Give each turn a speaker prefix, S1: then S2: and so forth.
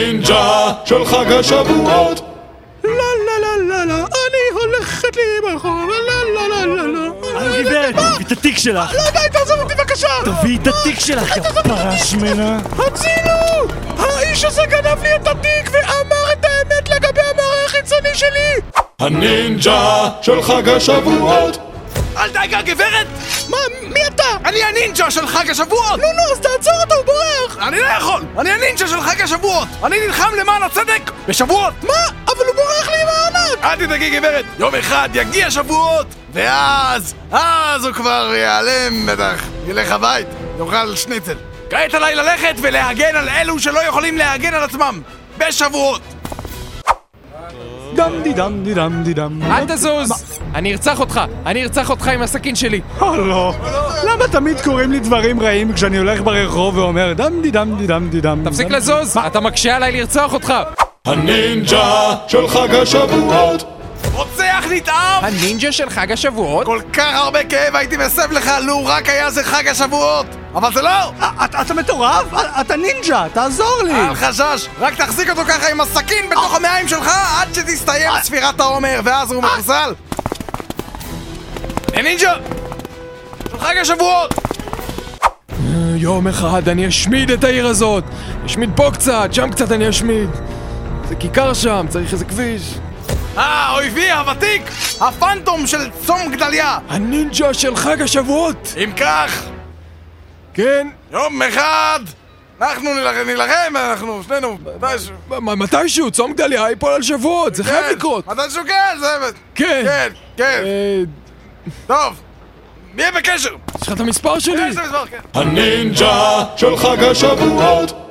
S1: הנינג'ה של חג השבועות.
S2: לא, לא, לא, לא, לא, אני הולכת לי ברחוב, לא, לא, לא, לא, לא.
S3: אני גברת, תביא את התיק שלך!
S2: לא, די, תעזוב אותי בבקשה!
S3: תביא את התיק שלך, יא פרשמנה!
S2: הצילו! האיש הזה גנב לי את התיק ואמר את האמת לגבי המראה החיצוני שלי!
S1: הנינג'ה של חג השבועות.
S4: אל דאגה, גברת!
S2: מה, מי אתה?
S4: אני הנינג'ה של חג השבועות!
S2: נו, נו, אז תעצור אותו, הוא בורח!
S4: אני לא יכול! אני הנינג'ה של חג השבועות! אני נלחם למען הצדק בשבועות!
S2: מה? אבל הוא בורח לי עם הארנק!
S4: אל תדאגי, גברת! יום אחד יגיע שבועות! ואז, אז הוא כבר ייעלם בטח, ילך הבית, יאכל שניצל. כעת עליי ללכת ולהגן על אלו שלא יכולים להגן על עצמם, בשבועות.
S3: דם די דם די דם די דם
S5: אל תזוז! אני ארצח אותך! אני ארצח אותך עם הסכין שלי!
S3: או לא! למה תמיד קוראים לי דברים רעים כשאני הולך ברחוב ואומר דם די דם די דם די דם
S5: תפסיק לזוז! אתה מקשה עליי לרצוח אותך!
S1: הנינג'ה של חג השבועות.
S4: רוצח נתעב!
S5: הנינג'ה של חג השבועות?
S4: כל כך הרבה כאב הייתי מסב לך לו רק היה זה חג השבועות! אבל זה לא!
S3: אה, אתה מטורף? אה, אתה נינג'ה, תעזור לי!
S4: אל חשש! רק תחזיק אותו ככה עם הסכין בתוך
S5: אה.
S4: המעיים שלך עד שתסתיים ספירת העומר ואז הוא מחוסל! הנינג'ה! של חג השבועות!
S5: יום אחד אני אשמיד את העיר הזאת! אשמיד פה קצת, שם קצת אני אשמיד! זה כיכר שם, צריך איזה כביש.
S4: אה, אויבי הוותיק! הפנטום של צום גדליה!
S5: הנינג'ה של חג השבועות!
S4: אם כך,
S5: כן,
S4: יום אחד! אנחנו נילחם, נילחם, אנחנו שנינו, מתישהו.
S5: מ- מתישהו, צום גדליה ייפול על שבועות, זה חייב
S4: כן,
S5: לקרות!
S4: מתישהו כן, זה...
S5: כן!
S4: כן, כן,
S5: אה,
S4: טוב. נהיה בקשר.
S5: יש לך את המספר שלי?
S4: יש את המספר, כן.
S1: הנינג'ה של חג השבועות.